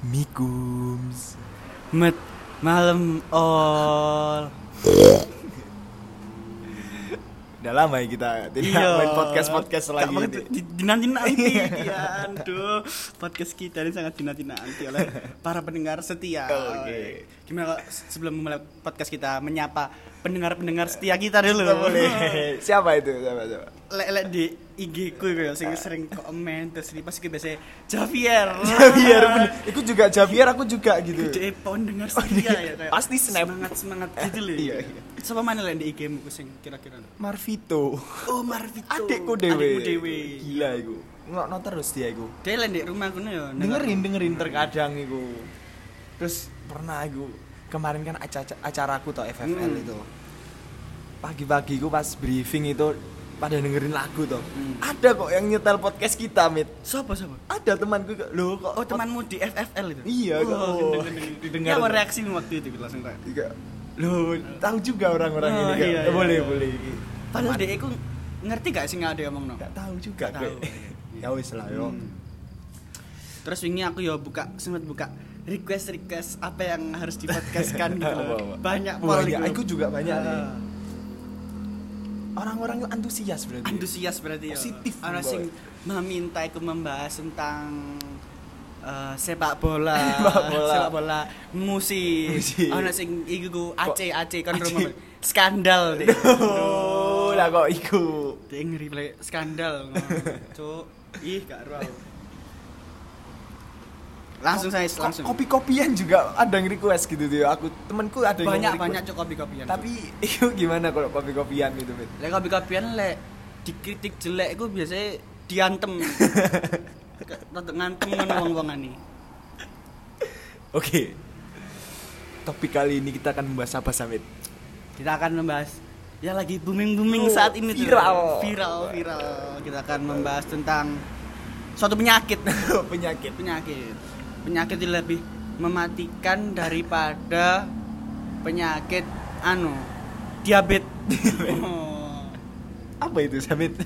Mikums Met Malam all Udah lama ya kita tidak Iya. main podcast-podcast lagi. Dinanti-nanti ya Aduh Podcast kita ini sangat dinanti-nanti oleh para pendengar setia Oh, Oke. Gimana kalau sebelum mulai podcast kita Menyapa pendengar-pendengar setia kita dulu Nggak boleh. Siapa itu? Siapa siapa? Ah. Lek-lek di IG ku ya, Ah. sing sering komen terus di pas ku biasanya Javier Javier bener. Iku juga Javier, aku juga gitu. Gede pendengar setia ya kayak iya. Pasti snap. Semangat-semangat gitu loh Iya, iya. Siapa mana lek di IG-mu ku sing kira-kira Marvito. Oh Marvito Adikku dewe. Adikmu dewe Gila iku. Ngokno terus dia iku. Dia lah di rumah aku ya Dengerin, dengerin terkadang iku. Terus pernah iku kemarin kan acara acaraku toh FFL Hmm. itu. Pagi-pagi ku pas briefing itu pada dengerin lagu toh. Hmm. Ada kok yang nyetel podcast kita, Mit. Siapa siapa? Ada temanku kok. Loh kok Oh temanmu di FFL itu? Iya, oh, kok. gendeng, gendeng. Didengar. Apa reaksi waktu itu langsung kayak Tiga. iya. Loh, tahu juga orang-orang Oh, ini Kak. iya, iya, boleh, iya. boleh. Padahal dia aku ngerti gak sih gak ada yang ngomong no? Enggak tahu juga, Nggak tahu. iya. Kak. Ya wis lah yo. Hmm. Terus wingi aku ya buka sempat buka request request apa yang harus dipodcastkan gitu loh. Apa-apa. Banyak Wah, banget ya, aku juga banyak Ah. nih. Orang-orang itu antusias berarti. Antusias berarti ya. Positif Orang banget. sing meminta aku membahas tentang eh, sepak bola, Sepak bola. sepak bola, musik. Musik. Orang sing iku ku Kok- Aceh Aceh kan Aceh. rumah skandal deh. Oh, lah kok iku. Dek ngeri play skandal. ngono. Cuk, ih gak ero aku. Langsung saya Ko- langsung. Kopi-kopian juga ada yang request gitu tuh. Aku temanku ada yang banyak request. banyak cuk kopi-kopian. Tapi itu gimana kalau kopi-kopian gitu, Mit? lek kopi-kopian lek dikritik jelek iku biasanya diantem. Kayak Rada ngantem ngono wong-wongan iki. Oke. Topik kali ini kita akan membahas apa, Samit? Kita akan membahas ya lagi booming-booming Oh, saat ini tuh. viral. viral, viral. Kita akan membahas tentang suatu penyakit. Penyakit. penyakit penyakit yang lebih mematikan daripada penyakit anu diabetes oh. Apa itu, Samit?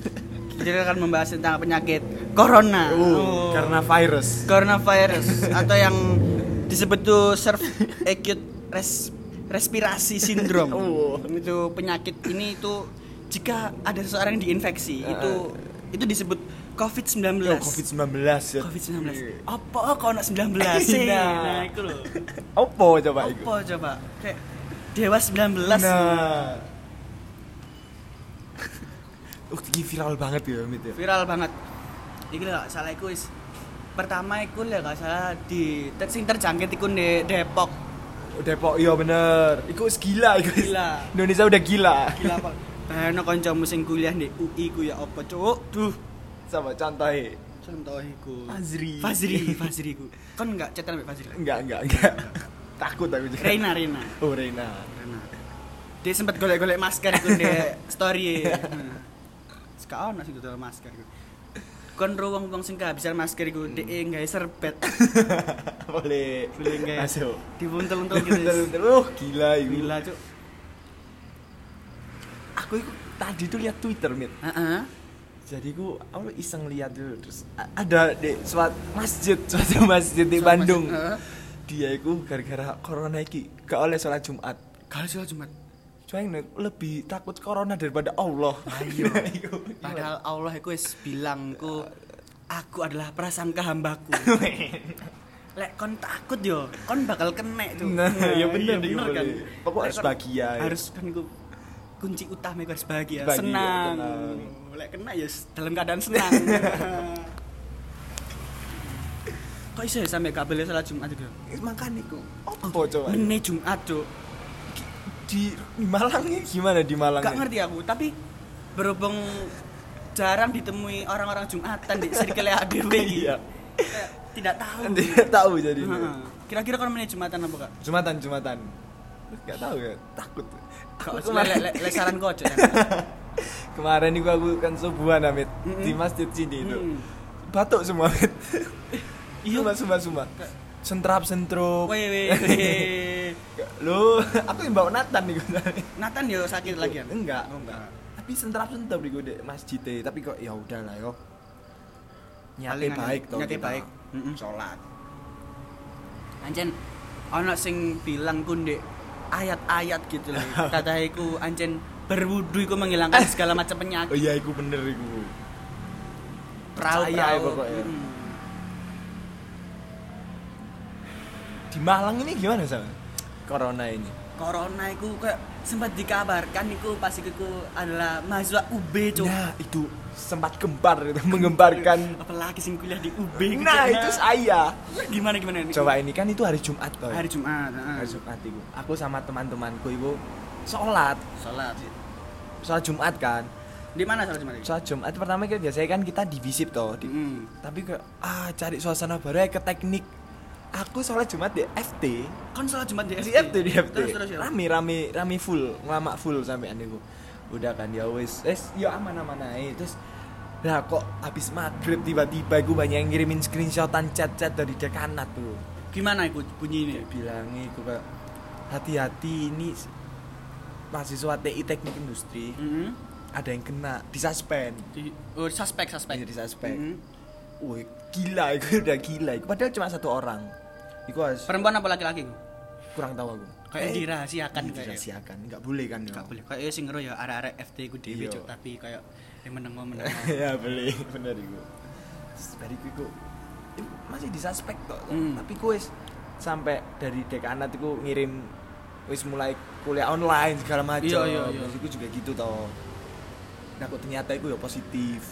kita akan membahas tentang penyakit corona Oh, karena virus. coronavirus atau yang disebut tuh serv acute res- respirasi sindrom Oh. itu penyakit ini itu jika ada seseorang yang diinfeksi itu itu disebut covid 19 Yo, COVID-19 ya. COVID-19. Apa kok anak 19 sih? Nah. Nah, itu loh. Opo coba iku? Apa coba? Kayak Dewa 19. Nah. Uh, ini viral banget ya, Mit ya. Viral banget. Iki gak salah iku wis pertama iku lek gak salah di ter- sing terjangkit iku di Depok. Depok iya bener. Iku wis gila iku. wis- Gila. Indonesia udah gila. Gila Pak. Bayangno kancamu sing kuliah di UI ku ya apa, Cuk? Duh. Sama contohnya. Serem tau iku. Fazri. Fazri, Fazri ku. Kon gak cetan mbek Fazri? Enggak, enggak, enggak. Takut aku juga. Reina, Reina. Oh, Reina. Reina. Dia sempat golek-golek masker itu di story. Sekarang nasi dodol masker itu. Kon ro wong-wong sing kehabisan masker iku dhek nggawe serbet. Boleh. Boleh nggak ya? Masuk. Dipuntel-untel gitu. Bentar-bentar. Oh, gila iku. Gila, Cuk. Aku iku tadi tuh lihat Twitter, Mit. Heeh. Jadi ku aku iseng lihat dulu terus a- ada di suatu masjid, suatu masjid di Suatu Bandung. masjid, heeh. Dia itu gara-gara corona iki gak oleh sholat Jumat. Kalau sih Jumat. Cuman lebih takut corona daripada Allah. Ayo. Nah, iku. Padahal Allah iku wis bilang ku aku adalah prasangka hambaku. Lek kon takut yo, kon bakal kenek tuh. Nah, ya bener, iku kan. boleh. Pokok Lek harus kon- bahagia, ya. Harus kan iku kunci utama iku harus bahagia, Bahagia, senang. tenang. Lek kena ya s- dalam keadaan senang. Kok iso ya sampe gak boleh salat Jumat itu? Makan Eh, iku. Apa coba? Mene Jumat, Cuk. Di, di Malang ini gimana di Malang? Gak ini? ngerti aku, tapi berhubung jarang ditemui orang-orang Jumatan di circle ADW iki. Iya. Kayak Tidak tahu. Tidak tahu jadi. Heeh. Kira-kira kon mene Jumatan apa gak? Jumatan, Jumatan. Gak tahu ya, takut. Kau Aku le, le, kemarin, le saran kau aja. ya. kemarin itu aku kan subuhan Amit Mm-mm. di masjid sini itu. Mm. Batuk semua Amit. Iya. Sumpah, sumpah, sumpah. Sentrap, sentrup. Weh weh. weh. Lu, aku yang bawa Nathan nih gue tadi. Nathan yo sakit lagi kan? Enggak, Oh, enggak. Tapi sentrap sentrap di gue di masjid deh. Tapi kok ya udah lah yo. Nyate Palingan baik toh. nyate kita. baik. Mm-mm. Sholat. Anjen ono sing bilang ku ndek ayat-ayat gitu loh. Kata iku anjen berwudu iku menghilangkan segala macam Oh penyakit. iya iku bener iku. Perahu percaya perahu. pokoknya. Hmm. Di Malang ini gimana sama? Corona ini. Corona iku kayak sempat dikabarkan iku pas iku iku adalah mahasiswa UB cuk. Nah, itu sempat gempar itu menggemparkan. apalagi sing kuliah di UB gitu, Nah, itu saya. gimana gimana ini? Coba ini kan itu hari Jumat, Boy. hari Jumat, heeh. Hari Jumat iku. Aku sama teman-temanku iku sholat, Salat. sholat Jumat kan. Di mana salat Jumat? Mm. Sholat Jumat pertama kita biasanya kan kita divisip toh, di- Heeh. tapi kayak ah cari suasana baru ya ke teknik. Aku sholat Jumat di FT, Kan salat Jumat di di FT. FT di FT. Terus terus ya. Rame rame rame full, ngelamak full sampai ane gua. Udah kan ya wis, wis ya aman aman aja. Terus lah kok habis maghrib tiba-tiba gue banyak yang ngirimin screenshotan chat-chat dari dekanat tuh. Gimana iku bunyi ini? bilangnya aku kayak hati-hati ini s- mahasiswa TI teknik industri Heeh. ada yang kena disuspend Mm-hmm. Di oh, suspek suspek. Mm-hmm. Iya, di suspek. Mm-mm. woi gila itu udah gila itu padahal cuma satu orang itu harus Perempuan apa laki-laki? Iku? kurang tahu aku Kayak dirahasiakan iya, kayak. ya? dirahasiakan nggak boleh kan Gak boleh. Kayak sing ngero ya arek-arek FT ku dhewe Iya. cuk, tapi kayak yang meneng meneng. ya boleh bener itu terus dari itu aku, "Ih, masih disuspek kok Hmm. tapi gue sampai dari dekanat itu ngirim wis mulai kuliah online segala macam Iya, iya, iya. Terus aku juga gitu toh nah kok ternyata itu ya positif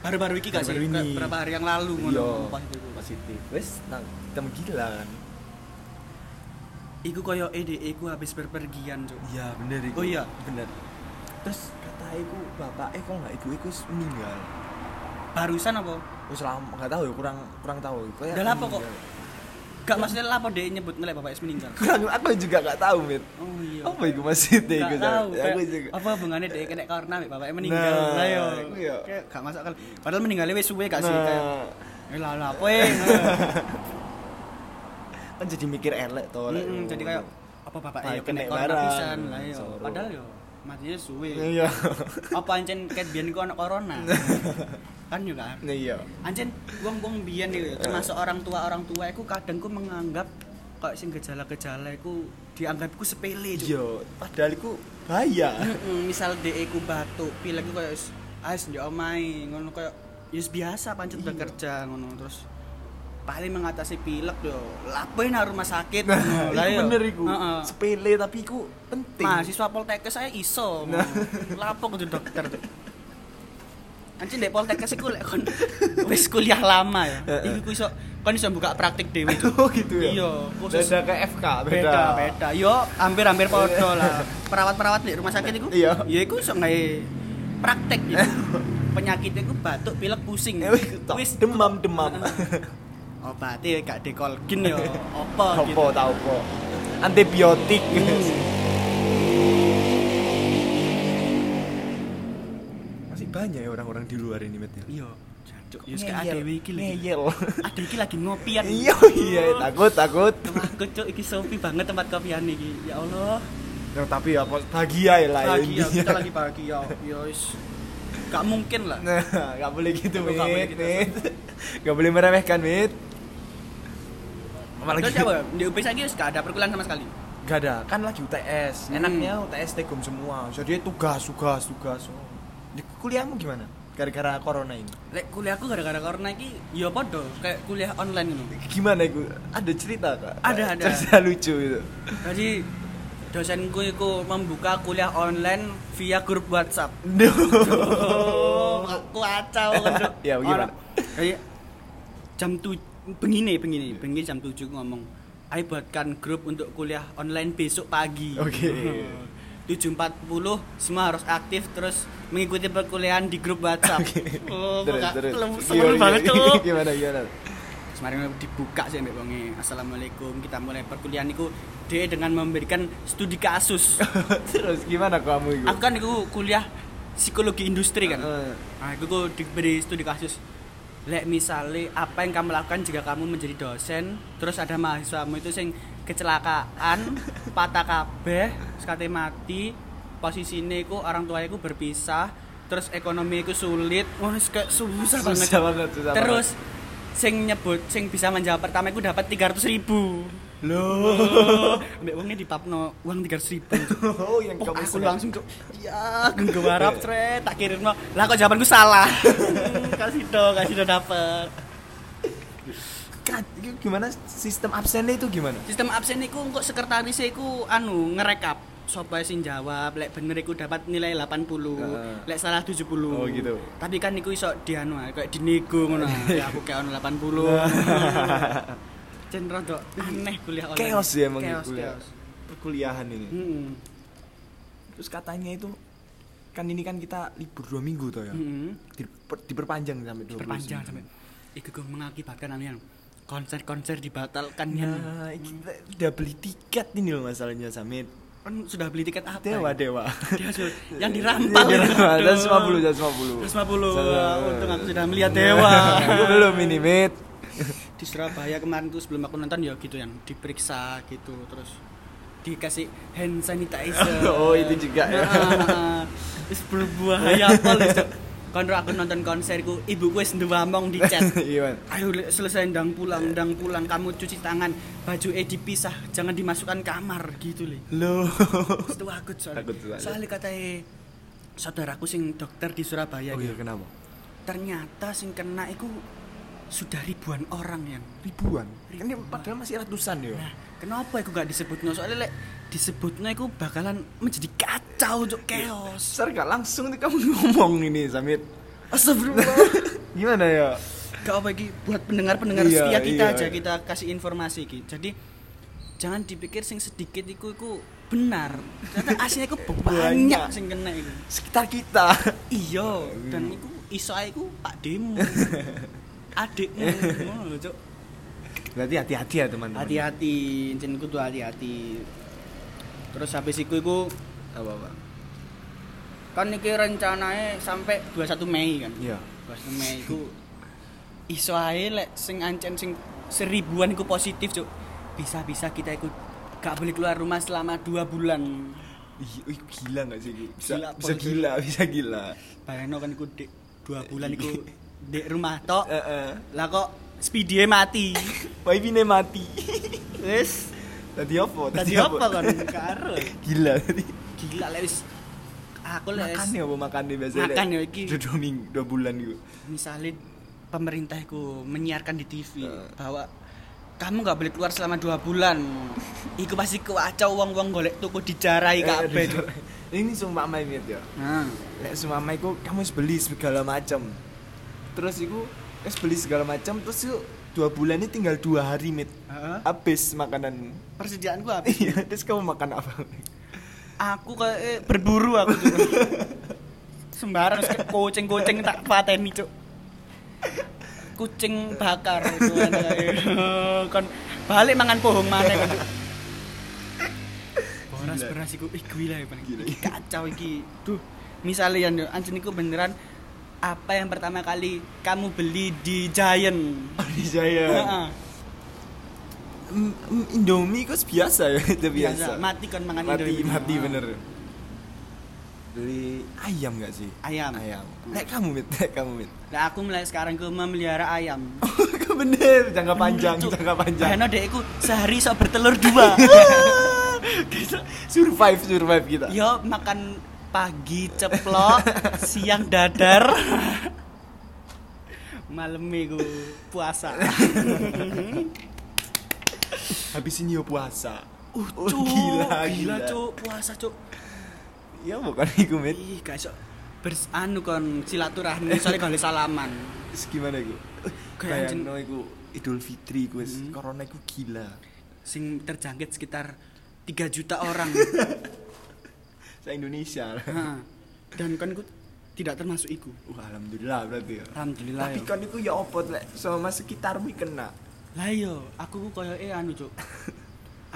Baru-baru iki gak sih? Baru-baru ini. Kayak Berapa hari yang lalu Iya. ngono gitu. pas itu. positif wes nang kita gila kan Iku koyo EDE ku habis berpergian, Cuk. iya bener Oh iya. bener terus kata aku bapak eh kok nggak ibu aku meninggal Barusan apa? wes lama nggak tahu ya kurang kurang tahu Kayak Udah lapor kok. meninggal. Gak maksudnya lah apa dia nyebut ngelek bapak es meninggal. kurang aku juga nggak tahu mir Oh iya. apa itu maksudnya Gak itu tahu. aku kayak juga Apa hubungannya dia kena corona mbek bapaknya meninggal? Nah, Lah yo. iku ya. Kayak gak masuk akal. Padahal meninggalnya wis suwe gak sih? Nah. Kayak Eh lah lah apa eh. Nah. kan jadi mikir elek toh oh. lek. Mm, jadi kayak apa bapak Baik, ya kena kena corona barang. pisan lah yo. Soro. Padahal yo matinya suwe. iya Apa ancen ket biyen ku ana corona? kan juga Nah, iya Anjen, wong wong biyen iki termasuk orang tua orang tua aku kadang ku menganggap kok sing gejala-gejala iku dianggapku sepele Cuk. iya padahal iku bahaya Mm-mm, misal DE ku batuk, pilek ku koyo "Is, ais ndek omahe, ngono koyo yus biasa pancet bekerja ngono terus paling mengatasi pilek yo lapoin harus rumah sakit ngono. Lah Nah, Iku yo. bener iku Nah, iya. Heeh. sepele tapi iku penting mahasiswa poltekkes saya iso ngono. lapo kudu dokter Cuk. Anjing dek poltekkes iku lek kon wis kuliah lama ya. Heeh. Iku ku iso kon iso buka praktik dhewe Cuk. oh gitu ya Iya, khusus beda ke FK beda beda beda yo hampir hampir podo lah perawat perawat di rumah sakit itu Iya. ya itu sok ngai praktek gitu penyakit itu batuk pilek pusing Eh, wih, tok, demam demam obatnya gak dekolgin yo opo opo gitu Hmm. tau opo antibiotik masih banyak ya orang-orang di luar ini met ya? yo jancuk yo sik adewe iki lho ya? Kan ngeyel Oh. ade iki lagi ngopian iya iya takut takut aku cuk iki sopi banget tempat kopian iki ya Allah Ya, tapi ya pos- bahagia ya lah ya bahagia intinya. kita lagi bahagia yo wis gak mungkin lah Nah, nggak boleh gitu, Nggak Mit. boleh gitu. Mit. Nggak boleh meremehkan, Mit. Apalagi Terus apa? Di UP lagi wis gak ada perkuliahan sama sekali. Nggak ada, kan lagi UTS. Hmm. Enaknya UTS tegum semua. Jadi tugas, tugas, tugas. Oh. Di kuliahmu gimana? Gara-gara corona ini. Lek kuliahku gara-gara corona iki ya padha kayak kuliah online ngono. Gimana itu? Ada cerita, Kak? Ada, ada. Cerita lucu itu. Jadi dosenku iku membuka kuliah online via grup WhatsApp. Oh, aku acau kan. Dok. Ya, bagaimana? Orang- Kayak jam 7 begini begini, begini jam 7 ku ngomong, "Ayo buatkan grup untuk kuliah online besok pagi." Oke. 7.40 semua harus aktif terus mengikuti perkuliahan di grup WhatsApp. Oh, Terus, kok gak- terus. Iya, lem- Gimana, seru banget gimana? tuh. Gimana, gimana? Semarin dibuka sih Mbak Bongi Assalamualaikum kita mulai perkuliahan itu dia dengan memberikan studi kasus Terus gimana kamu itu? aku kan aku kuliah psikologi industri kan Heeh. nah aku Ah, ku diberi studi kasus lek misalnya apa yang kamu lakukan jika kamu menjadi dosen terus ada mahasiswamu itu sing kecelakaan patah kabeh terus katanya mati posisinya iku orang tua iku berpisah terus ekonomi iku sulit wah wis kayak susah banget Susah banget, susah terus sing nyebut sing bisa menjawab pertama iku dapat 300.000 ribu loh ambek wongnya dipapno uang tiga ribu oh yang oh, kamu aku seret. langsung cok ya genggo warap cret tak kirim no lah kok jawabanku salah kasih do kasih do dapet Kat, itu gimana sistem absennya itu gimana sistem absen iku kok sekretaris iku anu ngerekap sapa sing jawab lek bener iku dapat nilai 80 Heeh. lek salah 70 Oh, gitu. tapi kan iku iso dianu ae, kayak dinego ngono ya aku kayak ono Nah. 80 Cen rada aneh kuliah online chaos ya emang Oh, iya. chaos, kuliah chaos. Hmm. perkuliahan ini Mm-mm. terus katanya itu kan ini kan kita libur dua minggu toh ya Mm-mm. Diper- diperpanjang sampai 20 Hmm. diperpanjang sampai iku kok mengakibatkan anu yang konser-konser dibatalkan ya Nah, iki- kita udah beli tiket ini loh masalahnya Samit. kan sudah beli tiket apa Dewa ya? dewa. Dia suruh- yang dirampal Iya, dirampal. Aduh. 150, 150. 150 Salah. untung aku sudah melihat Iya. dewa Aku Ya, belum ini, Mit. di Surabaya kemarin tuh sebelum aku nonton ya gitu yang diperiksa gitu terus dikasih hand sanitizer Oh, itu juga ya. Nah, terus iya, berbahaya polis kalau Kan aku nonton konserku ibuku wis ndewamong di chat Iya, Man. ayo Le, selesai ndang pulang ndang pulang kamu cuci tangan baju eh dipisah jangan dimasukkan kamar gitu le Loh. Terus tuh aku Oh. soalnya Takut soalnya. soalnya katanya saudaraku sing dokter di Oh Surabaya iya, gitu. kenapa? ternyata sing kena itu sudah ribuan orang yang Ribuan. Ini padahal masih ratusan ya. Nah, kenapa aku gak disebutnya? Soalnya lek disebutnya aku bakalan menjadi kacau Iya. untuk chaos. Sar gak langsung nih kamu ngomong ini, Samit. Astagfirullah. Gimana ya? gak apa iki buat pendengar-pendengar Iya, setia kita iya. aja kita kasih informasi iki. Jadi jangan dipikir sing sedikit iku iku benar. Ternyata aslinya iku banyak sing kena iku. Sekitar kita. Iya, dan Hmm. iku iso ae iku Pak Demu. Adikmu ngono lho, Cuk. Berarti hati-hati ya, teman-teman. Hati-hati, encen kudu hati-hati. Terus habis iku iku Apa, Pak? kan iki rencananya sampai 21 Mei kan. Iya. 21 Mei iku iso ae lek sing ancen sing seribuan iku positif, Cuk. Bisa-bisa kita ikut gak boleh keluar rumah selama 2 bulan. Ih, ih, gila gak sih? Ki? Bisa Gila, gila, Pol. bisa gila, bisa gila. Bayangno kan iku dek 2 bulan iku dek rumah tok. Heeh. Lah kok speedie mati. Wifi-ne mati. Wis Tadi apa? tadi apa kan karo. Gila tadi. Gila lek wis aku lek Makan ya apa makan deh biasanya. Makan Lek. ya, iki. Dua, dua minggu, dua bulan gitu. misalnya pemerintah iku menyiarkan di TV Eh. bahwa kamu nggak boleh keluar selama dua bulan iku pasti kacau uang uang golek tuku dijarai kabeh Cuk. Eh, Ini sumpah main Mit, ya. nah Lek sumpah main ku kamu harus beli segala macam. Terus iku es beli segala macam terus yuk dua bulan ini tinggal dua hari mit Heeh. habis makanan persediaan gua habis iya terus kamu makan apa aku kayak eh, berburu aku Cuk. sembarang kucing kucing tak pateni cuk kucing bakar itu kan balik mangan pohon mana kan beras beras iku ih gila ya paling Gila. Iki kacau iki duh misalnya yang anjing iku beneran apa yang pertama kali kamu beli di Giant Ari Jaya Heeh, Em, em, Indomie kok biasa ya itu biasa mati kan mangan mati Indomie. mati Ah. bener beli ayam gak sih ayam ayam lek kamu mit lek kamu mit nah aku mulai sekarang gue memelihara ayam Kau bener, jangka panjang, jangka panjang. Bayangno dekku sehari sok bertelur dua. Survive, survive kita. Yo makan pagi ceplok, siang dadar. Malam minggu puasa. Habis ini yo puasa. Uh, Oh, cuk, gila, gila, gila. cuk, puasa, cuk. Ya bukan iku, Mit. Ih, guys, sok bers anu kon silaturahmi soalnya kalau salaman. Terus gimana iku? Kayak Bayangno iku Idul Fitri iku wis Hmm. corona iku gila. Sing terjangkit sekitar 3 juta orang. Sa Indonesia. lah. Heeh. Dan kan ku tidak termasuk iku. Wah, alhamdulillah berarti ya. Alhamdulillah. Tapi yo. kan iku ya opo lek sama sekitarmu kena. Lah yo, aku ku koyoke anu, Cuk.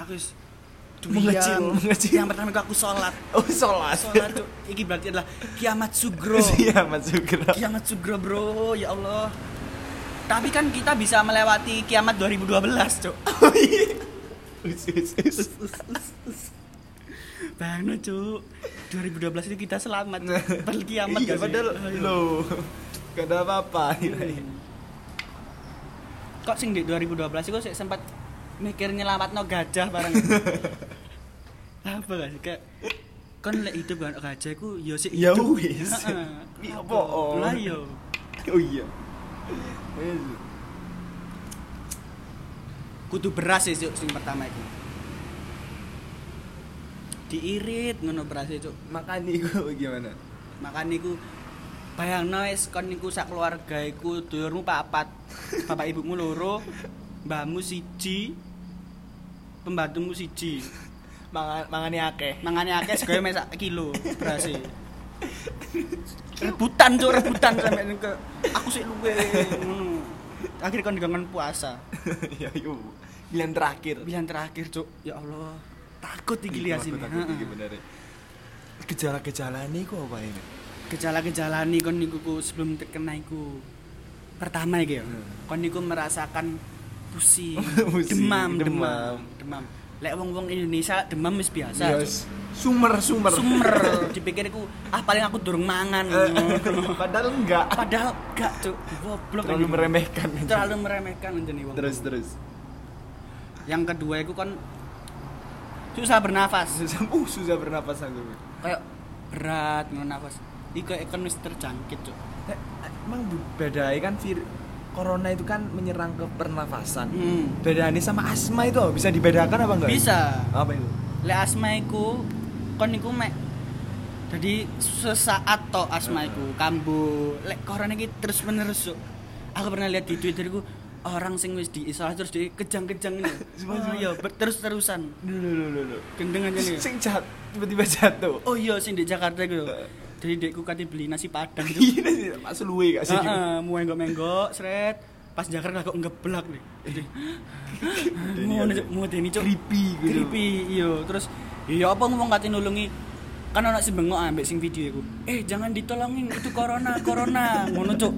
Aku wis Mengecil, duyang. mengecil. Yang pertama ku aku salat. Oh, sholat. Salat, Cuk. Iki berarti adalah kiamat sugro. Iya, Mas Sugro. kiamat sugro, Bro. Ya Allah. Tapi kan kita bisa melewati kiamat 2012, Cuk. Us, us, us. Bano, Cuk. 2012 itu kita selamat. Cuk. Padahal kiamat Iya, gak sih? padahal Ayo. Iya. lo gak ada apa-apa. Kok sing di 2012 itu sih sempat mikir nyelamatno gajah bareng. Apa gak sih kayak kon lek hidup gak ono gajah iku ya sik Ya hidup. wis. Heeh. Ya apa? Lah yo. oh iya Kudu beras sih Cuk, sing pertama iki. Diirit ngono beras Cuk. makan iku gimana Makane iku bayangno wis kon niku sak keluarga iku dulurmu papat, bapak ibumu loro, mbahmu siji, pembantumu siji. mangan mangane akeh Mangane akeh segoe mek sak kilo berase. Rebutan cuk, rebutan sampe ke aku sik luwe ngono. Akhir kon digangen puasa. ya yo pilihan terakhir Pilihan terakhir cuk. Ya Allah. Takut iki Iya, lihat aku sini. takut Heeh. iki bener gejala-gejala ini kok apa ini gejala-gejala nih kon niku ku sebelum terkena iku pertama iki ya. Hmm. Kon niku merasakan pusing, Pusing, demam, demam. demam, demam. Lek wong-wong Indonesia demam wis biasa. Ya, Cuk. wis. sumer sumer Sumer, dipikir iku ah paling aku durung mangan. padahal enggak Padahal gak, Cuk. Goblok terlalu ini. meremehkan Terlalu meremehkan anjene wong. terus terus Yang kedua iku kon susah bernafas. susah uh susah bernapas aku Kayak berat ngono nafas. Iku kayak kon wis terjangkit, Cuk. Eh, emang bedanya kan vir corona itu kan menyerang ke pernafasan Hmm. bedanya sama asma itu bisa dibedakan apa enggak Bisa. apa itu Lek asma iku kon niku mek jadi sesaat to asma iku kambuh. Lek corona iki terus menerus. Cuk. Aku pernah lihat di Twitter iku orang sing wis diisolasi terus di kejang-kejang ini. Sumpah, Oh sumpah. iya, ber- terus-terusan. dulu dulu dulu Gendeng aja nih. sing jat tiba-tiba jatuh Oh iya sing di Jakarta iku. lho. Jadi dekku kate beli nasi padang itu. Gila Iya sih, Pak Sulwe gak sih? Heeh, mau enggok-menggok, sret. Pas Jakarta kok ngeblak nih. Jadi, Mau Ini- mau deni cuk. ya? Creepy gitu. Creepy, iya. Terus iya apa ngomong kate nulungi kan anak sing bengok ambek sing video iku. Eh, jangan ditolongin itu corona, corona. Ngono cuk.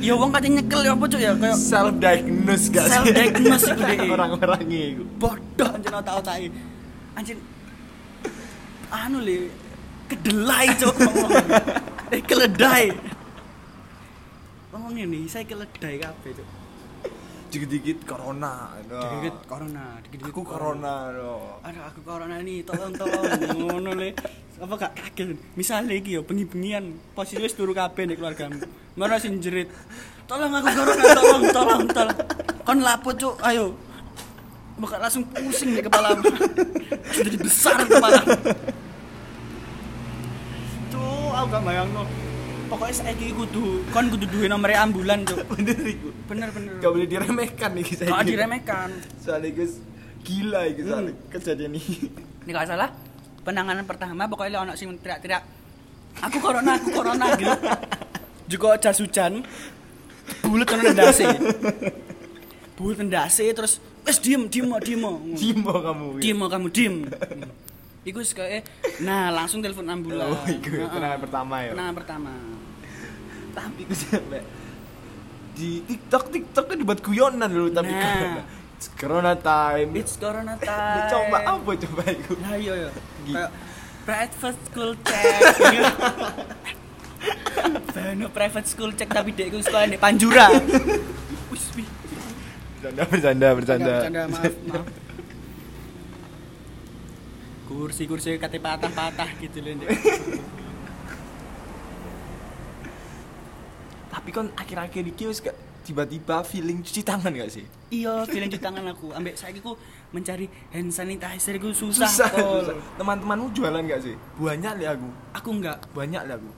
Ya wong kate nyekel ya apa cuk ya kayak Self diagnose gak sih? Self-diagnose gitu. iku deh. Orang-orangnya iku. bodoh anjir otak-otake. Anjir anu le kedelai cok eh keledai ngomong ini saya keledai kabeh cok Dikit-dikit corona. aduh. dikit Eh, corona dikit Aku corona loh. aduh aku corona nih tolong tolong ngono le apa gak kaget misalnya iki yo bengi-bengian posisi wis turu kabeh nek keluargamu ngono sing jerit tolong aku corona tolong tolong tolong kon lapo cuk ayo bakal langsung pusing di kepala langsung jadi besar kepala cuk aku gak bayangno pokoknya saiki kudu kon kudu duwe nomere ambulan cuk Bener iku. bener bener Gak boleh diremehkan iki saya. gak Hmm. diremehkan Soalnya guys gila iki soalnya kejadian ini. ini kalau salah penanganan pertama pokoknya ono sing teriak-teriak aku corona aku corona gitu juga jas hujan bulat kan ndase bulat ndase terus wes diem diem mau diem mau Jimbo kamu. wih. diem mau kamu diem Iku wis kayak nah langsung telepon ambulan. Oh, iku Heeh. tenangan pertama ya. Penanganan pertama. Tapi gue sampe di TikTok TikTok kan dibuat guyonan dulu tapi Nah. corona. It's corona time. It's corona time. Coba apa coba iku? Lah iya ya. Gi- Kayak private school check. Bano private school check tapi dek iku sekolah di Panjura. Wis wih. Bercanda bercanda bercanda. Bercanda, maaf, maaf. Kursi-kursi kate patah-patah gitu loh Dek. Tapi kan akhir-akhir iki wis gak- tiba-tiba feeling cuci tangan gak sih? Iya, feeling di tangan aku. Ambek saiki ku mencari hand sanitizer ku susah, Pol. susah. Teman-temanmu jualan gak sih? Banyak li aku. Aku enggak. Banyak li aku.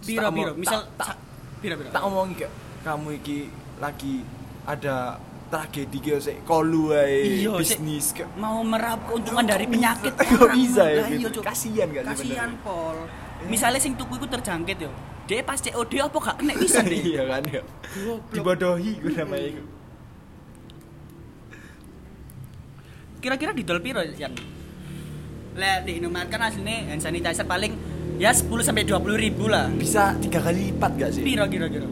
Terus tak Piro-piro, omong- misal tak, sa- piro-piro. tak, tak omongi kayak kamu iki lagi ada tragedi kayak sik kolu ae Iya, sik. bisnis kayak mau merap keuntungan dari Kok penyakit bisa? Kok orang. bisa ya Lah iya, gitu? Cuk. Kasian gak sih kasihan bener? pol Iya. misalnya sing tuku iku terjangkit yo dia pas COD apa gak kena bisa deh iya kan ya. Dibodohi gue namanya iku. kira-kira didol piro yang lek di Indomaret kan aslinya hand sanitizer paling ya 10 sampai 20 ribu lah Bisa tiga kali lipat gak sih? piro kira-kira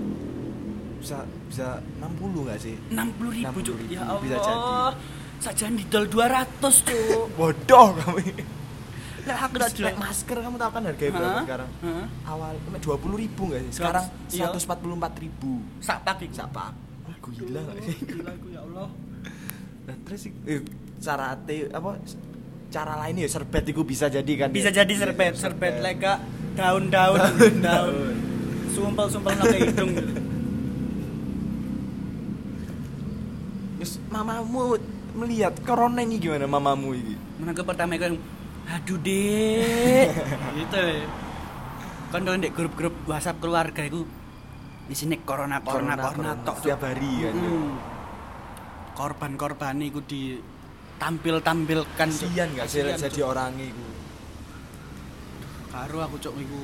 Bisa bisa 60 gak sih? 60 ribu cuk 60.000, ya bisa Allah saja didol 200 cuk Bodoh kamu. lek aku tak Pakai delok masker kamu tahu kan harganya berapa Hah? sekarang? Hah? awal dua puluh ribu nggak sih sekarang Iya. seratus empat puluh empat ribu sak pak iki siapa gila nggak sih gila aku ya Allah Nah, terus i- eh, cara te, apa cara lain ya serbet itu bisa jadi kan Bisa ya? jadi serbet, serbet lega daun-daun, daun. Sumpel-sumpel sampai hidung. Terus mamamu melihat corona ini gimana mamamu ini Menangkap pertama itu yang aduh dek gitu kan dong dek grup-grup WhatsApp keluarga itu di sini corona corona corona, tok Hmm. setiap hari kan ya. korban korban itu ditampil tampilkan kasian gak sih jadi orang itu karo aku cok iku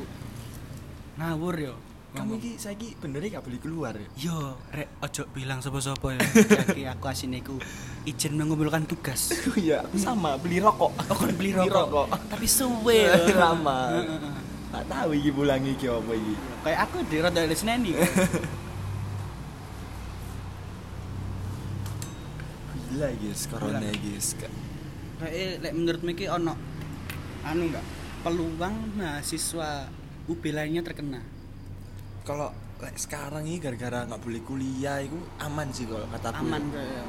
ngawur yo kamu Ngomong. ini saya ini benernya gak boleh keluar ya yo rek ojo bilang sapa-sapa ya jadi aku asine iku izin mengumpulkan tugas iya aku sama beli rokok oh kon beli rokok, tapi suwe yo. lama Heeh, heeh. gak Nah. tahu ini pulang ini apa ini kayak aku di roda di Seneni gila guys corona Gila. guys Ka- kayak eh, lek menurutmu iki ono anu enggak peluang mahasiswa UB lainnya terkena kalau like, sekarang ini gara-gara nggak boleh kuliah itu aman sih kalau kata aku aman kayak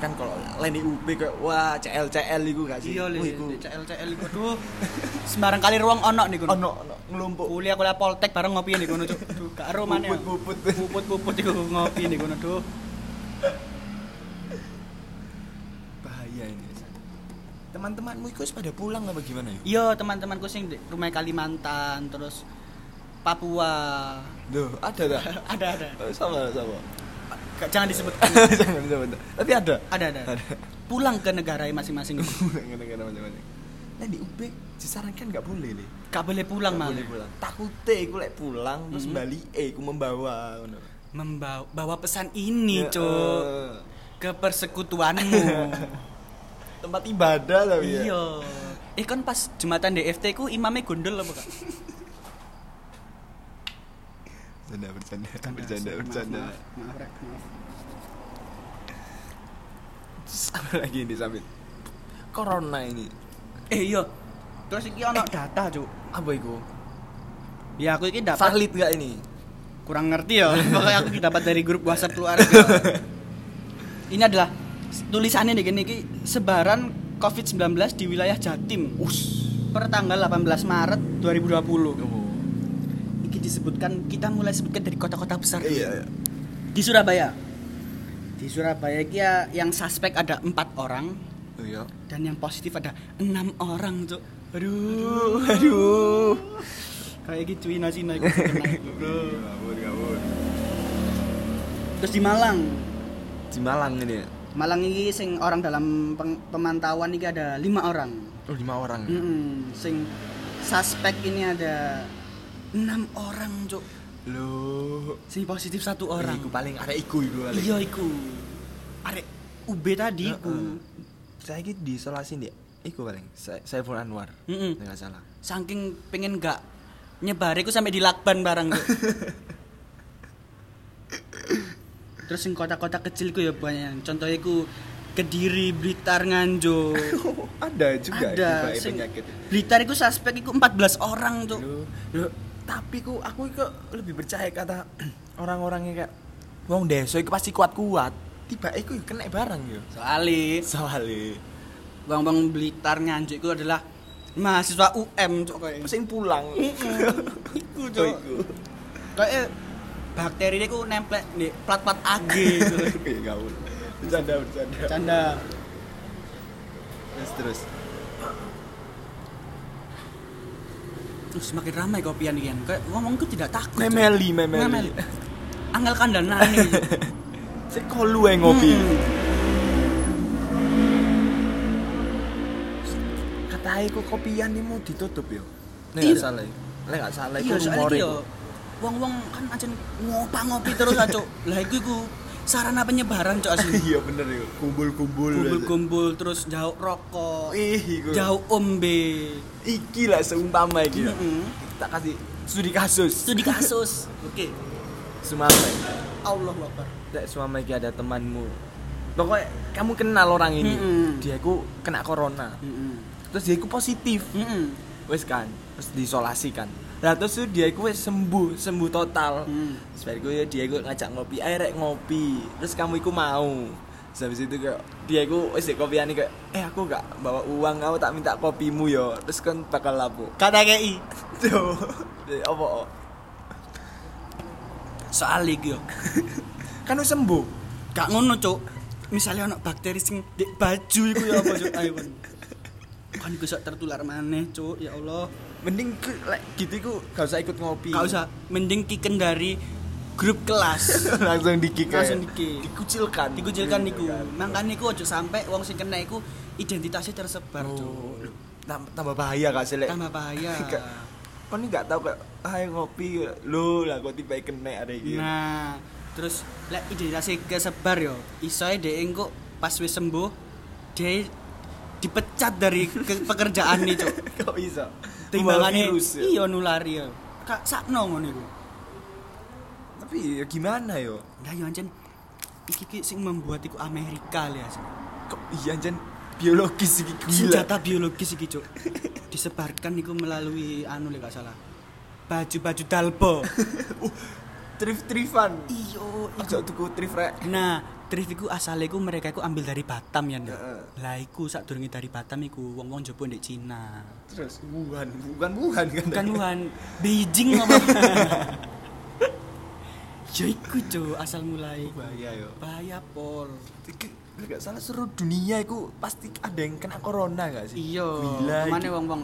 kan kalau lain di UB kayak wah CL CL itu gak sih iya Wih, lek Oh, iku CL CL iku aduh sembarang kali ruang ono nih kono ono ono ngelumpuk kuliah kuliah poltek bareng ngopi nih kono cuk Duh, gak ero maneh. Puput, puput. puput puput iku ngopi nih kono duh bahaya ini teman-temanmu itu wis pada pulang apa gimana ya? iya teman-temanku sing di rumah Kalimantan terus Papua Duh, ada tak? ada ada Eh, sama sama. Gak, jangan disebut Jangan bisa bentar. Tapi ada. ada ada pulang ke negara masing-masing Gara-gara macam-macam. Nah di UB disarankan nggak boleh nih. gak boleh pulang Nggak malah boleh pulang. Takutnya aku lek pulang terus Mhm. balik eh aku membawa. ngono. membawa bawa pesan ini Ya, cuk eh, ke persekutuanmu Tempat ibadah tapi ya. iya eh kan pas jembatan DFT ku imamnya gondol apa kak Bercanda bercanda bercanda bercanda. Maaf, Rek, maaf. Terus apa lagi ini sambil Corona ini. eh iya terus iki ono data cuk Apa itu? ya aku iki dapat Valid nggak ini? kurang ngerti ya pokoknya aku dapat dari grup WhatsApp keluarga ini adalah tulisannya nih gini ki sebaran COVID-19 di wilayah Jatim Us. per tanggal 18 Maret 2020 Oh, ini disebutkan kita mulai sebutkan dari kota-kota besar dulu. Iya. di Surabaya di Surabaya iki ya, yang suspek ada empat orang Iya. dan yang positif ada enam orang cuk Aduh, aduh. Oh. kayak gitu Cina Cina iku terkena iku, bro Kabur, kabur. terus di Malang Di Malang ini ya? Malang ini sing orang dalam peng- pemantauan ini ada lima orang Oh, lima orang. ya? Mm-mm. sing suspek ini ada enam orang cuk Loh. sing positif satu Orang. orang Iku paling ada iku iku paling. iya iku arek UB tadi iku Heeh. Saya gitu diisolasi dia. Iku paling. Saya Saiful Anwar. Mm-mm. Nggak salah. saking pengen gak nyebare ku sampai di lakban barang Cuk. terus yang kota-kota kecilku ya banyak contohnya ku Kediri, Blitar, Nganjo ada juga ada iku, sing- penyakit. Blitar itu suspek itu 14 orang tuh Loh, loh, tapi ku aku kok lebih percaya kata orang-orang yang kayak wong desa iku pasti kuat-kuat. Tiba iku yo kena barang yo. soalnya Soale. bang-bang Blitar, Nganjo itu adalah mahasiswa UM Cuk, kayaknya. Sing pulang. Iku Cuk. Kayaknya bakteri ini ku nempel di plat-plat AG Cuk. Kayak Iya, gaul. Bercanda, bercanda. canda Terus terus. Terus semakin ramai kopian ini kan. Kayak ngomongku tidak takut. Memeli, Cok. Memeli. memeli. Angel kandanane. Cok. Sik kolu ae ngopi. Mm. Katae kok kopian ini mau ditutup yo. Nek Iya. gak salah. ya. Nek gak salah iku Iya, soalnya rumore iki yo. iku. Wong-wong kan ancen ngopah ngopi terus ah, Cok. Lah iku iku sarana penyebaran cok asli. Iya bener yo. Kumpul-kumpul. Kumpul-kumpul terus jauh rokok. Ih, iku. Jauh ombe. Iki lah seumpama iki. yo. Mm-mm. Tak kasih studi kasus. Itu di kasus. Oke. Sumama. Allah Akbar. Nek sumama iki ada temanmu. Pokoknya kamu kenal orang ini. Mm-mm. Dia iku kena corona. Heeh. Terus dia iku positif. Heeh. wes kan terus diisolasi kan nah terus tuh dia gue sembuh sembuh total Hmm. ya, hmm. gue dia gue ngajak ngopi ayo rek ngopi terus kamu iku mau Terus habis itu kayak dia iku wis kopi ani kayak eh aku gak bawa uang kamu tak minta kopimu yo. Terus kan bakal lapo. Kata KI Tuh. Jadi Apa? oh? soal iki yo. Kan wis sembuh. Gak ngono, Cuk. Misalnya ono bakteri sing di baju iku ya apa, Cuk? Ayo. kon. Kan iku sak tertular maneh, Cuk. Ya Allah. Mending ku- lek gitu iku gak usah ikut ngopi. Gak usah mending kiken dari grup kelas. langsung dikik ya. Langsung dikik. dikucilkan dikucilkan niku. Makanya niku ojo sampai wong sing kena iku identitasnya tersebar, Oh, Cuk. tam- tambah bahaya gak sih lek Tambah bahaya. Gak- kan ini gak tau kayak ayo ngopi lu lah kok tiba kena ada gitu Nah, terus lek identitasnya kesebar yo. Isoe dhek engko pas wis sembuh dhek dipecat dari ke- pekerjaan nih, Cuk. kok bisa Membawa timbangane virus ya? iya nulari ya kak sakno ngono iku tapi ya gimana yo nah yo anjen iki ki sing membuat iku Amerika lho ya kok iya anjen biologis iki gila senjata biologis iki cuk disebarkan iku melalui anu lek gak salah baju-baju dalbo Uh, trif trifan iyo ojo tuku trif rek nah Trif iku asale iku mereka iku ambil dari Batam ya ndak Heeh. lah iku sadurunge dari Batam iku wong-wong jopo ndek Cina terus wuhan bukan wuhan kan kan Wuhan Beijing apa Ya iku cuk asal mulai bahaya yo bahaya pol Iki, gak salah seru dunia iku pasti ada yang kena corona gak sih iya gila mana iki. wong wong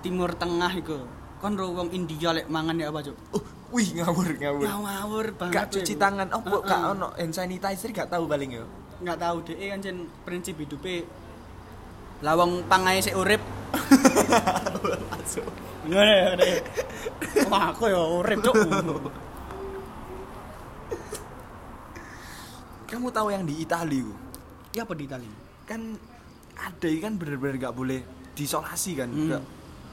timur tengah iku kon ro wong India lek mangan ya apa cuk Uh, wih ngawur ngawur ngawur banget ya, gak cuci tangan opo Heeh. gak ono hand sanitizer gak tahu paling ya? yo nggak tahu deh kan jen prinsip hidupe lah wong pangae sik urip masuk ngene ngene wah aku ya urip cuk kamu tahu yang di Italia ku ya apa di Itali kan ada yang kan bener-bener gak boleh diisolasi kan Hmm. gak,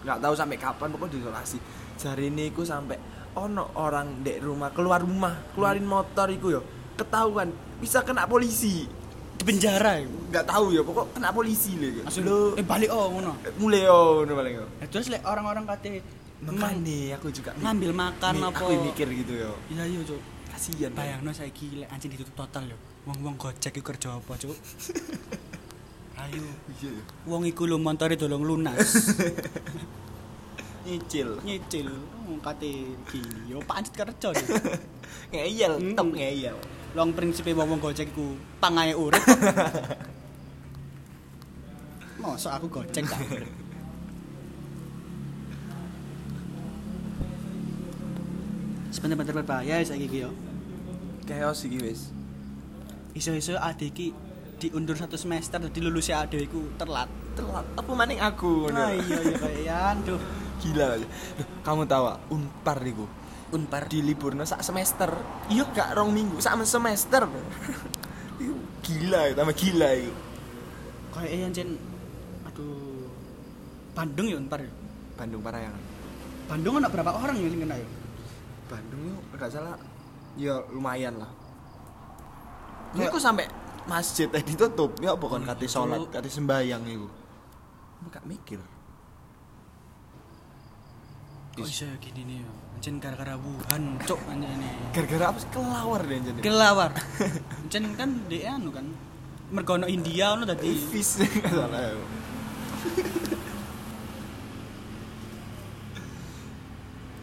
gak tahu sampai kapan pokoknya diisolasi jari ini ku sampai ono orang dek rumah keluar rumah keluarin Hmm. motor iku yo ketahuan bisa kena polisi di penjara iku gak tahu ya pokok kena polisi lho Maksud- lo eh balik oh ngono mulai yo ngono paling yo Ya, terus lek orang-orang kate makan emang nih aku juga mik- ngambil makan mik- apa aku mikir gitu yo iya iya cuk kasihan bayang no saya gila anjing ditutup total yo wong wong gojek itu kerja apa cuk ayo iya yo wong iku lho montore dolong lunas nyicil nyicil wong kate gini yo pancet kerja yo ngeyel Hmm. tetep ngeyel long prinsipe wong wong gojek iku pangae urip mosok aku gojek tak urip? sebentar-bentar berbahaya saya iki yo chaos iki wis iso-iso adik iki diundur satu semester jadi lulusnya adik iku terlat telat apa maning aku ngono. Nah, iya iya kalian tuh gila Loh, kamu tahu ah, unpar iku unpar di liburnya sak semester Iya. gak rong minggu sak semester Iku gila ya tambah gila itu kayak yang jen aduh Bandung ya unpar ya Bandung Parayangan Bandung ada berapa orang yang kena ya Bandung yuk gak salah ya lumayan lah ini Kayak- aku sampai masjid tadi tutup ya bukan Oh, kate iya, sholat Cuk. kate sembayang itu gak mikir kok Is- iso ya gini nih ya jen gara-gara Wuhan cok anjir nih gara-gara apa sih kelawar deh jadi kelawar jen kan dia anu kan mergono India anu tadi Aktivis nggak salah ya.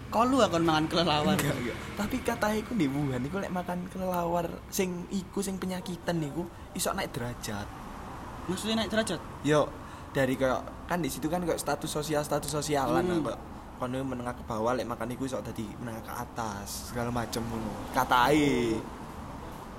kalu akan mangan kelawar Enggak, enggak. Tapi katanya iku di Wuhan iku lek makan kelelawar sing iku sing penyakitan niku iso naik derajat. maksudnya naik derajat Yo dari kayak kan di situ kan kayak status sosial status sosialan Hmm. hmm. kok kono menengah ke bawah lek makan iku iso dadi menengah ke atas segala macem ngono. Katai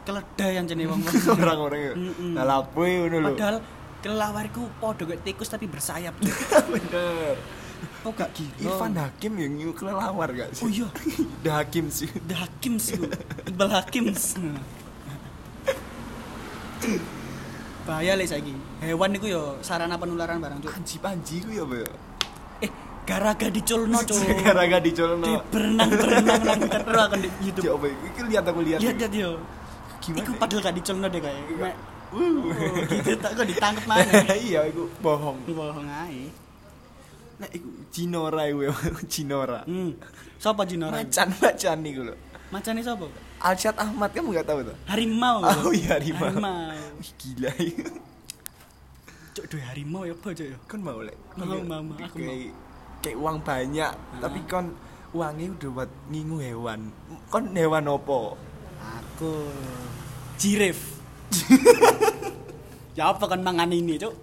keledai yang jenis wong orang-orang yo. Mm-mm. Lah lapo ngono lho. padahal kelawar iku podo kayak tikus tapi bersayap Cuk. bener. kok gak gitu Irfan Hakim yang ngiu kelelawar gak sih? Oh iya. The Hakim sih. The Hakim sih, Bu. Iqbal Hakim. Bahaya lek saiki. Hewan niku yo sarana penularan barang cuk. Panji-panji ku ya, Bu. Eh, garaga diculno cuk. Gara-gara dicolno. Di berenang-berenang nang terus akan di Ya, YouTube. Bu. Iki lihat aku lihat. Lihat lihat iya. yo. Gimana Iku ya? Iya. padahal gak diculno deh kayak. Mek, Wuh. oh, Gitu tak kok ditangkep mana. iya iku bohong Bohong ae. nek iku cinora iku ya, cinora Hmm. Sopo Jinora? macan macan iku lho Macane sapa? Arsyad Ahmad kamu nggak tahu tuh? Harimau. Oh iya harimau. Harimau. Wih, gila. ya. Cuk duwe harimau ya apa cuk ya? Kan mau lek. Mau, mau, mau, aku mau. Kayak kayak uang banyak, tapi kon uangnya udah buat ngingu hewan. Kon hewan opo? Aku jirif. ya apa kan mangan ini, Cuk?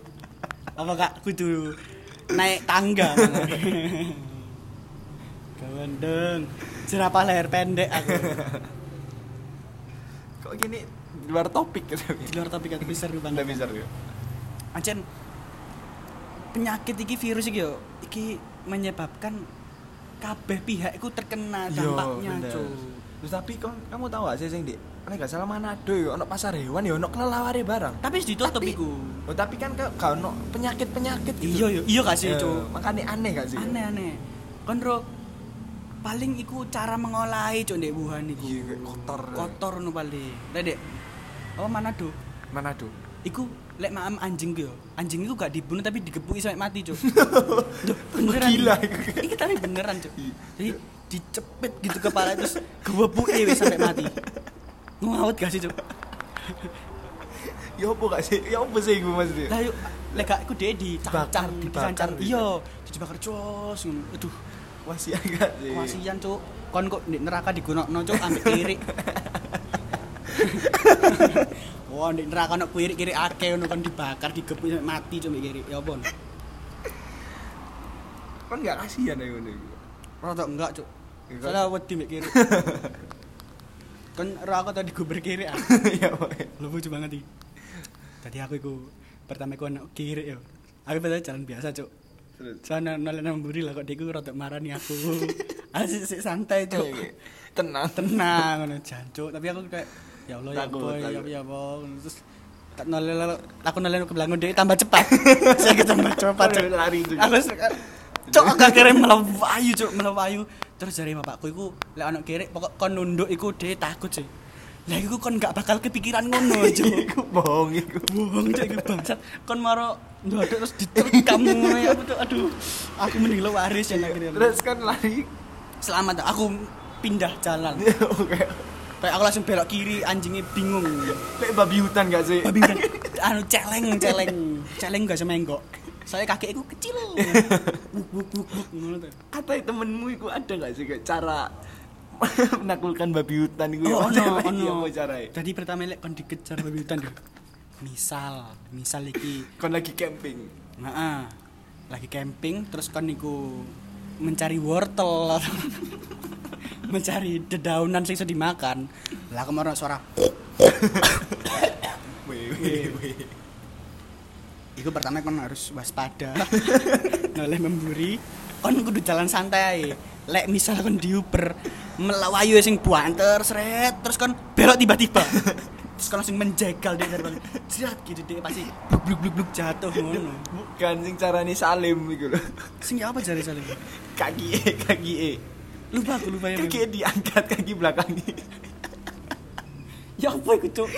Apa Kak kudu naik tangga? Gawendeng. Jerapah leher pendek aku. Kok gini luar topik kan? Di luar topik aku bisa seru banget. Nggak bisa ya. Ancen penyakit iki virus iki yo iki menyebabkan kabeh pihak iku terkena Nah, dampaknya, Iya, bener. Cuk. Terus tapi kon kamu tahu gak sih sing di? Nek gak salah Manado ya ono pasar hewan ya ono kelelaware barang. Tapi wis ditutup Tapi- iku. Oh, tapi kan kau kau ono penyakit-penyakit Iya yo, iya gak sih, Iya, Cuk? Makanya aneh gak sih? aneh aneh kan Ro, paling iku cara mengolahi cok ndek Wuhan iku Iya, kayak kotor. kotor no paling lek dek apa Manado Manado. iku lek maam anjing ku yo anjing iku gak dibunuh tapi digepuki sampai mati cok Duh, beneran Gila. iki tapi beneran cok Iya. jadi dicepet gitu kepala terus gewepuki wis sampai mati ngawet gak sih cok Ya opo gak sih? Ya opo sih gue maksudnya? lah yuk lek gak iku dhek dicancang Dibakar, dibakar dicancang gitu. iya dibakar jos ngono aduh Wasian gak sih? Kasihan cuk, kon kok di neraka digunakno cuk ambek kiri. Wah, di neraka ono kiri kiri akeh ono kon dibakar digepuk sampe mati cuk ambek kiri. Ya apa? no? Kan gak kasihan ya ngono iku. Rada enggak cuk. Enggak. Salah wedi ambek kiri. Kon neraka tadi guber kiri ah. Ya pokoknya. Lu lucu banget iki. Tadi aku iku pertama iku ono kiri yo. Aku padahal jalan biasa cuk. Terus. Sana nolak namburi lah kok deku rada marani aku. Asik sik santai Oke, cuk. oke. Iya. Tenang. tenang ngono jancuk tapi aku kayak ya Allah ya Takut, boy ya takut. ya boy Ngono. terus tak nolel aku nolel ke belakang dia tambah cepat saya ke tambah cepat Lari, Cuk. lari juga. aku suka cok agak kira melawayu cok melawayu terus dari bapakku iku lek anak kiri pokok kon nunduk iku dia takut sih lah iku kon gak bakal kepikiran ngono cok Iku bohong iku. bohong cok iku bangsat kon maro ndodok terus diterus kamu aku tuh aduh aku mending lo waris ya akhirnya Terus kan lari. selamat aku pindah jalan Oke. Kayak aku langsung belok kiri, anjingnya bingung. Kayak babi hutan gak sih? Babi kan, anu celeng, celeng, celeng gak sama enggok. Saya kakekku kecil. Buk buk buk buk ngono tuh. Kata temenmu iku ada gak sih kayak cara menaklukkan babi hutan iku? Oh, ya? ono, ono. Iya, mau caranya. Jadi pertama lek kon dikejar babi hutan yo. Misal, misal iki, Kon Kan lagi camping. heeh. Lagi camping terus kon niku mencari wortel atau mencari dedaunan sing iso dimakan. Lah kemarin suara Weh, Iya. weh, weh. Iku pertama kon harus waspada. Noleh memburi, kon kudu jalan santai. Lek misal kon diuber melawayu sing buanter seret terus kon belok tiba-tiba. terus kon langsung menjegal dia dari belakang. Jerat gitu dia pasti bluk bluk bluk bluk jatuh ngono. Bukan sing carane Salim iku lho. Sing ya apa jare jare? Kaki e, kaki e. Lupa aku lupa ya. Kaki e diangkat kaki E. belakangnya. Ya apa iku cuk?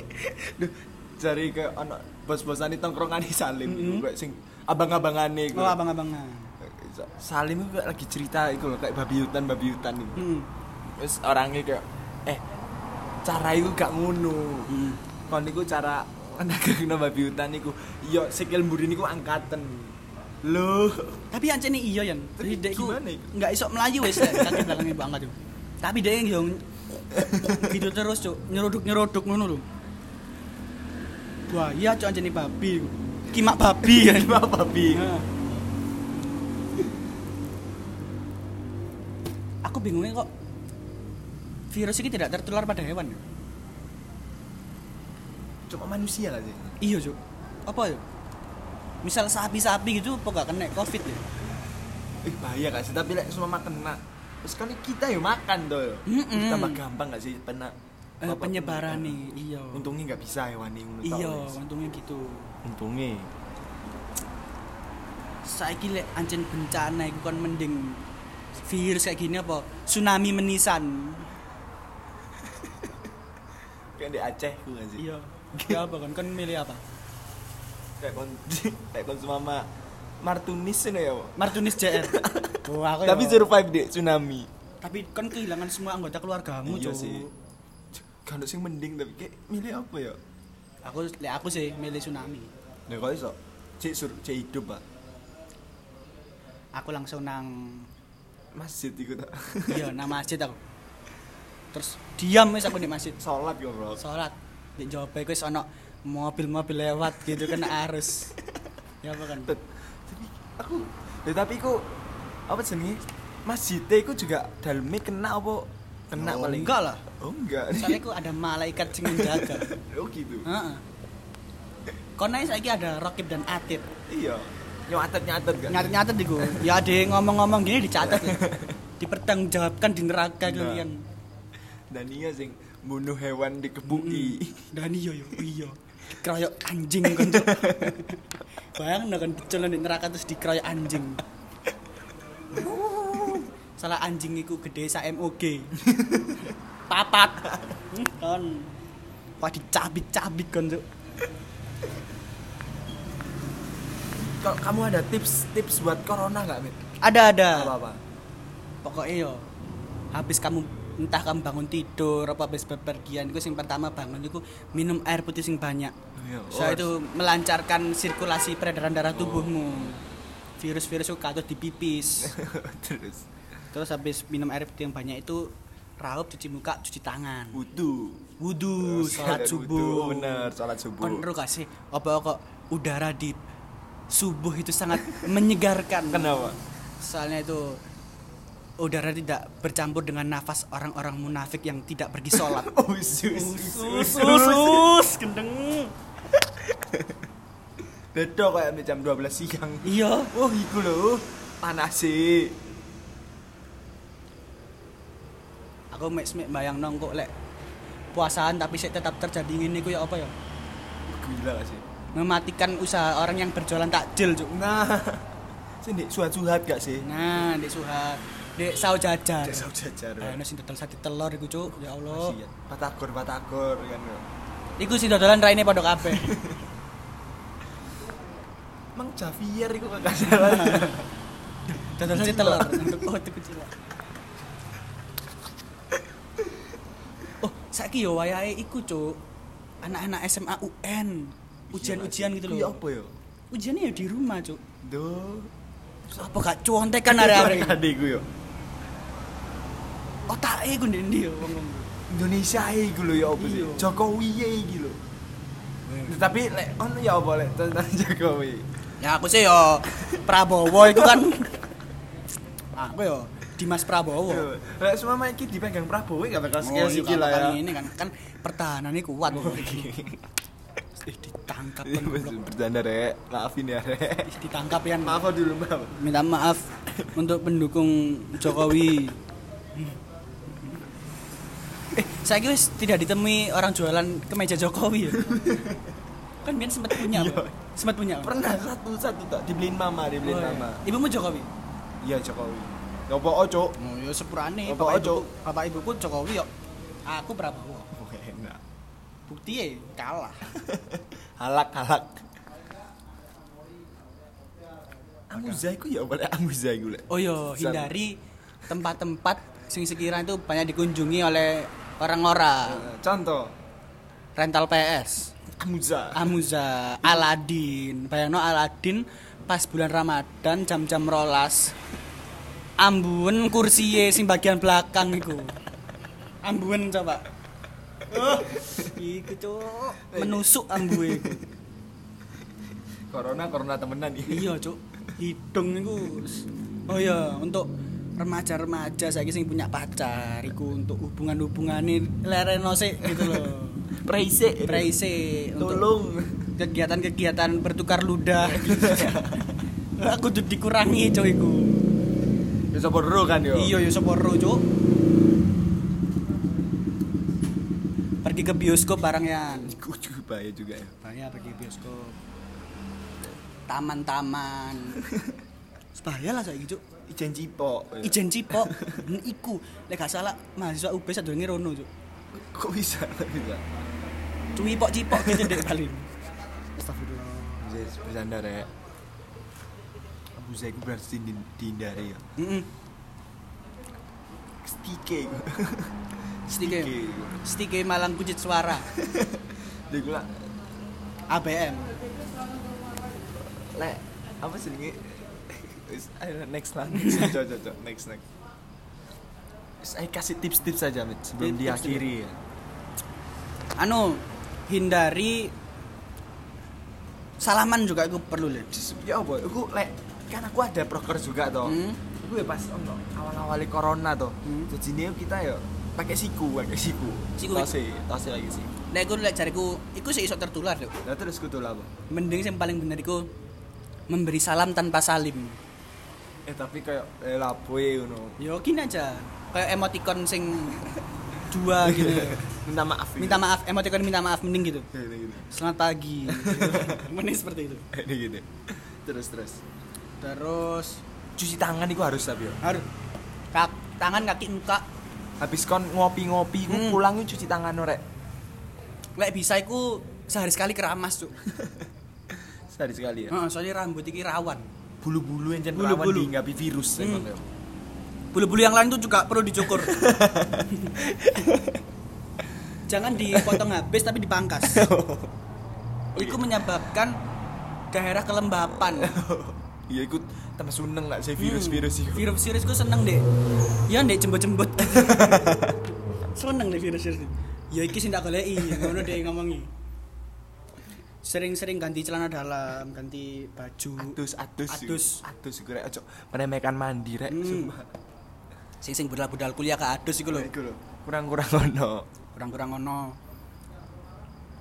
Duh, jari ke anak bos-bosan di tongkrongan di Salim mm sing abang-abangane iku. Mm-hmm. Oh abang-abangan. Salim itu lagi cerita itu loh, kayak babi hutan babi hutan itu. Hmm. Terus orangnya kayak eh cara itu gak ngono. Hmm. Kon niku cara nagakno babi hutan niku Iya, yo sikil mburi niku angkatan. Loh, Tapi ancene iya yan. Tapi Jadi dekku gimana iku? nggak iso melayu wis Dek. kaki belakangnya ibu angkat yo. Tapi dia yang gitu terus cuk nyeruduk nyeruduk ngono lho. Wah iya cuk ancene babi iku. Kimak babi ya. gimana babi? Nah. Aku bingungnya kok virus ini tidak tertular pada hewan. ya? Cuma manusia gak sih? Iya cuk. Apa ya? Misal sapi-sapi gitu, apa gak kena covid ya? Eh, bahaya gak sih? Tapi lek semua makan kena. Terus kan kita yo makan tuh. yo. Mm-mm. Tambah gampang gak sih pena Eh, apa- penyebaran nih, iya. Untungnya nggak bisa hewan ini. menurut aku, Iya, ya. guys. untungnya gitu. Untungnya. saiki lek ancen bencana iku kan mending virus kayak gini apa tsunami menisan Kayak di Aceh gue gak sih? iya ya apa kan kan milih apa kayak kon kayak kon sama Martunis ini ya Wak. Martunis JR Wah, aku ya- tapi survive deh tsunami tapi kan kehilangan semua anggota keluargamu Iya Cuk. sih. Kan sing mending tapi kayak milih apa ya? aku lek aku sih milih tsunami Nek Ya, kok iso cek sur cek hidup, Pak. aku langsung nang Masjid iku tak. iya nang masjid aku terus diam wis aku di masjid Salat yo, ya, Bro. sholat di Jawa Baik wis ono mobil-mobil lewat gitu kan arus ya apa kan Tet- Tapi aku ya, tapi iku apa jenenge? Masjidnya iku juga dalamnya kena apa? Kena Oh, paling. enggak lah Oh enggak. soalnya aku ada malaikat sing menjaga oh gitu. Heeh. Kono iki saiki ada Rokib dan Atib. Iya. Nyatet-nyatet kan. Nyatet-nyatet iku. Ya ada yang ngomong-ngomong gini dicatat loh. Dipertanggungjawabkan di neraka Nah. kalian. Dan iya sing bunuh hewan dikebuki. Dan iya yo iya. Dikeroyok anjing kan. Cuk. Bayang kan dicelon di neraka terus dikeroyok anjing. Salah anjing iku gede sa MOG. Papat. Hmm, Kan. Wah dicabik-cabik kan Cuk. Kalau kamu ada tips-tips buat corona nggak, Mit? Ada ada. Apa-apa? pokoknya yo habis kamu entah kamu bangun tidur apa habis bepergian itu yang pertama bangun itu minum air putih sing banyak Iya, so oh. itu melancarkan sirkulasi peredaran darah tubuhmu virus-virus itu katut dipipis Terus terus habis minum air putih yang banyak itu raup cuci muka cuci tangan wudu. wudhu Terus sholat ada subuh wudhu, bener, Oh, sholat subuh. kan ero gak sih apa kok udara di subuh itu sangat menyegarkan Kenapa? soalnya itu udara tidak bercampur dengan nafas orang-orang munafik yang tidak pergi sholat Oh, Usus, usus gendeng Dedo kayak sampai ya, jam 12 siang. iya Oh, iku lho. Panas sih. aku mek mek bayang nongkok lek puasaan tapi sik tetap terjadi ngene ku ya apa ya Gila gak sih. mematikan usaha orang yang berjualan takjil cuk Nah. Sini suhat-suhat gak sih? nah dek suha dek saus jajar Jasa jajar. Eh, sing dodol sate telur iku cuk ya Allah Kasihan. Batagor, batagor kan. lho. iku sing dodolan raine pondok kabeh Mang Javier iku kagak salah. dodol sate telur oh itu kecil oh saiki yo wayahe iku cuk anak-anak SMA UN ujian-ujian gitu Iya loh apa ya? ujiannya ya di rumah cuk Duh. Terus apa gak cuontek kan hari-hari Kade iku yo. otak e ku ndi yo wong Indonesia iku lho ya apa sih? Iya. Jokowi ya iki lho. Tapi lek ono ya apa lek tentang Jokowi. ya aku sih yo Prabowo itu kan aku yo Dimas Prabowo Lek semua iki dipegang Prabowo gak bakal Oh, sekali iya, iki kan, lah ya. kan ini kan kan pertahanannya kuat iya. Ih, ditangkap kan goblok. Iya, Bercanda rek, maafin ya rek. Ih, ditangkap ya Maaf dulu maaf. minta maaf untuk pendukung Jokowi. eh, saya kira wis tidak ditemui orang jualan kemeja Jokowi ya. kan biar sempat punya, Iya. Pak. sempat punya. Pak. Pernah satu satu tak dibeliin mama, dibeliin Oh, iya. mama. Ibumu Jokowi. Iya Jokowi. Ngopo ojo? Oh, ya Apa, sepurane bapak ibuku, Cok? bapak ibuku Jokowi yo. Aku Prabowo. Oh, enak. Buktinya ya, kalah. Halak halak. Amuza iku ya boleh Amuza iku lek. Oh yo, San- hindari tempat-tempat sing sekiranya itu banyak dikunjungi oleh orang-orang. Eh, Contoh, Rental PS. Amuza. Amuza, Aladin. Bayangno Aladin pas bulan Ramadan jam-jam rolas. Ambun kursiye sing bagian belakang iku. Ambun coba. Oh, iku cuk, menusuk ambuhe iku. Corona corona temenan iya. Iya, cuk. Hidung niku. Oh iya, untuk remaja-remaja saiki sing punya pacar iku untuk hubungan-hubungane lereno sik gitu loh. Praise. Praise untuk Tolong. kegiatan-kegiatan bertukar ludah Iya. aku tuh dikurangi cok iku Ya sapa ro kan yo. iya yo seporo cok pergi ke bioskop barangnya Iku juga bahaya juga ya. banyak pergi bioskop taman-taman bahaya lah saya cok Ijen cipok. ya. ijen cipok Hmm, iku lek gak salah mahasiswa UB sadurunge rono cok Kok bisa? Kok bisa. cuwi pok cipok gitu dek kali astagfirullah Zais bercanda rek. ya? Amuza iku berarti di- dihindari ya. Mm-mm. stike iku. Stike. iku. Stike e, Malang Pujit Suara Lha iku lak ABM. lek apa jenenge? Wis, ayo, next lah. Next, Cok, cok, cok. next next. Saya kasih tips-tips saja Mit, sebelum Tips-tips diakhiri. ya. Anu hindari salaman juga itu perlu lho. Ya apa? Aku lek kan aku ada proker juga toh. Hmm. Aku ya pas ono awal-awal corona toh. Hmm. Jadi ini kita ya pakai siku, pakai siku. Siku. Tose, tose e lagi siku. Nek iku lek jariku iku sih iso tertular lho. Lah terus kudu lah, apa? Mending sing paling bener iku memberi salam tanpa salim. Eh tapi kayak eh, laboy ngono. Yo Ya, gini aja. Kayak emoticon sing dua gitu. Minta maaf. gitu. Minta maaf, emoticon minta maaf mending gitu. Ini gini. Selamat pagi. mending seperti itu. Ini gini. Iya, Terus terus. Terus Cuci tangan itu harus tapi ya. harus kak, tangan kaki muka Habis kon ngopi-ngopi, ku Hmm. pulang ku cuci tangan orek. lek bisa iku sehari sekali keramas tuh Sehari sekali ya. Heeh, soalnya rambut iki rawan Bulu-bulu yang jangan Hmm. Bulu-bulu. rawan dihinggapi virus Hmm. emang ya. bulu-bulu yang lain tuh juga perlu dicukur jangan dipotong habis tapi dipangkas itu menyebabkan daerah kelembapan Iya ikut tambah seneng lah saya Hmm, virus-virus itu. virus virus gue seneng deh ya deh jembut-jembut seneng deh virus virus ya iki sih tak goleki ngono deh ngomongi sering-sering ganti celana dalam ganti baju Atus, atus, Atus. atus, iku rek ojo meremehkan mandi rek. Hmm. Sumpah. sing sing budal-budal kuliah ke adus iku lho Iku lho. Kurang-kurang ono. kurang-kurang ono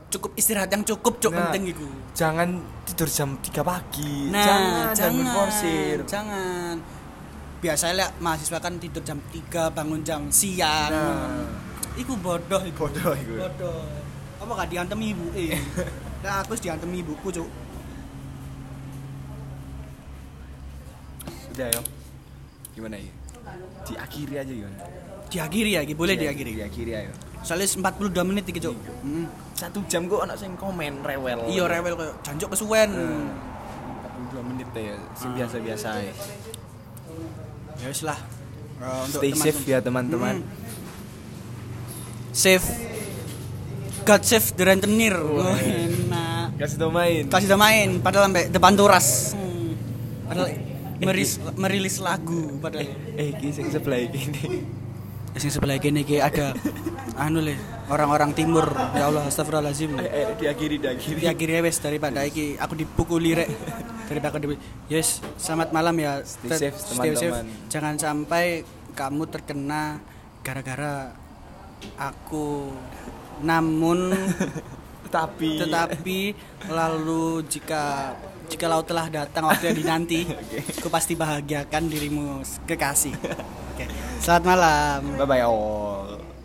cukup istirahat yang cukup cuk Nah, penting iku Jangan tidur jam 3 pagi. nah jangan, jangan jangan forsir. jangan biasanya lah, mahasiswa kan tidur jam 3 bangun jam siang Nah, iku bodoh iku bodoh iku. bodoh apa gak diantem ibu eh nah, aku wis diantem ibuku cuk Udah ya. Gimana ya? Diakhiri aja gimana? diakhiri ya iki Iya, boleh diakhiri Diakhiri ayo. soalnya 42 menit iki Iya. cuk Hmm. Satu jam kok anak sing komen rewel. iya rewel koyo jancuk kesuwen Nah. Dua menit ya, sing biasa-biasa ya. ya wis lah Eh, untuk Stay safe teman-teman. ya teman-teman. Mm. Save God save the rentenir. Wah. Oh, enak. Kasih tau main. Kasih udah main padahal sampai depan turas. Hmm. Padahal meris, merilis lagu padahal. Eh, iki sing sebelah iki. Yang Eh, sebelah kene iki ada anu le, orang-orang timur. Ya Allah astagfirullahalazim. Eh, eh, diakhiri, diakhiri. Ya akhirnya wes daripada iki aku dipukuli rek. Daripada aku di Yes, selamat malam ya. Stay Ter- safe, teman-teman. Jangan sampai kamu terkena gara-gara aku namun Tapi tetapi lalu jika jikalau telah datang waktu yang dinanti, aku pasti bahagiakan dirimu kekasih. Oke. Selamat malam. bye-bye all.